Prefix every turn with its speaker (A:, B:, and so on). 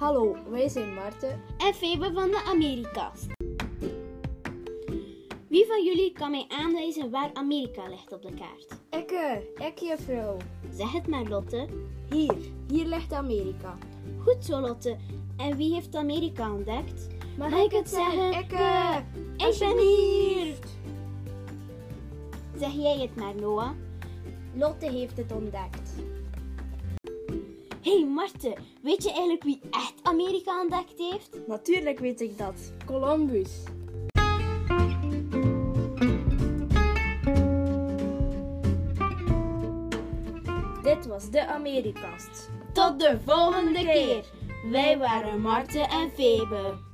A: Hallo, wij zijn Maarten.
B: en Febe van de Amerika's. Wie van jullie kan mij aanwijzen waar Amerika ligt op de kaart?
A: Ik er, ik juffrouw.
B: Zeg het maar, Lotte.
A: Hier, hier ligt Amerika.
B: Goed zo, Lotte. En wie heeft Amerika ontdekt?
A: Mag,
B: ik het zeggen?
A: Ik er.
B: Ik ben hier! Zeg jij het maar, Noah.
A: Lotte heeft het ontdekt.
B: Hé hey Marten, weet je eigenlijk wie echt Amerika ontdekt heeft?
A: Natuurlijk weet ik dat. Columbus. Dit was de Amerikast.
B: Tot de volgende keer! Wij waren Marten en Febe.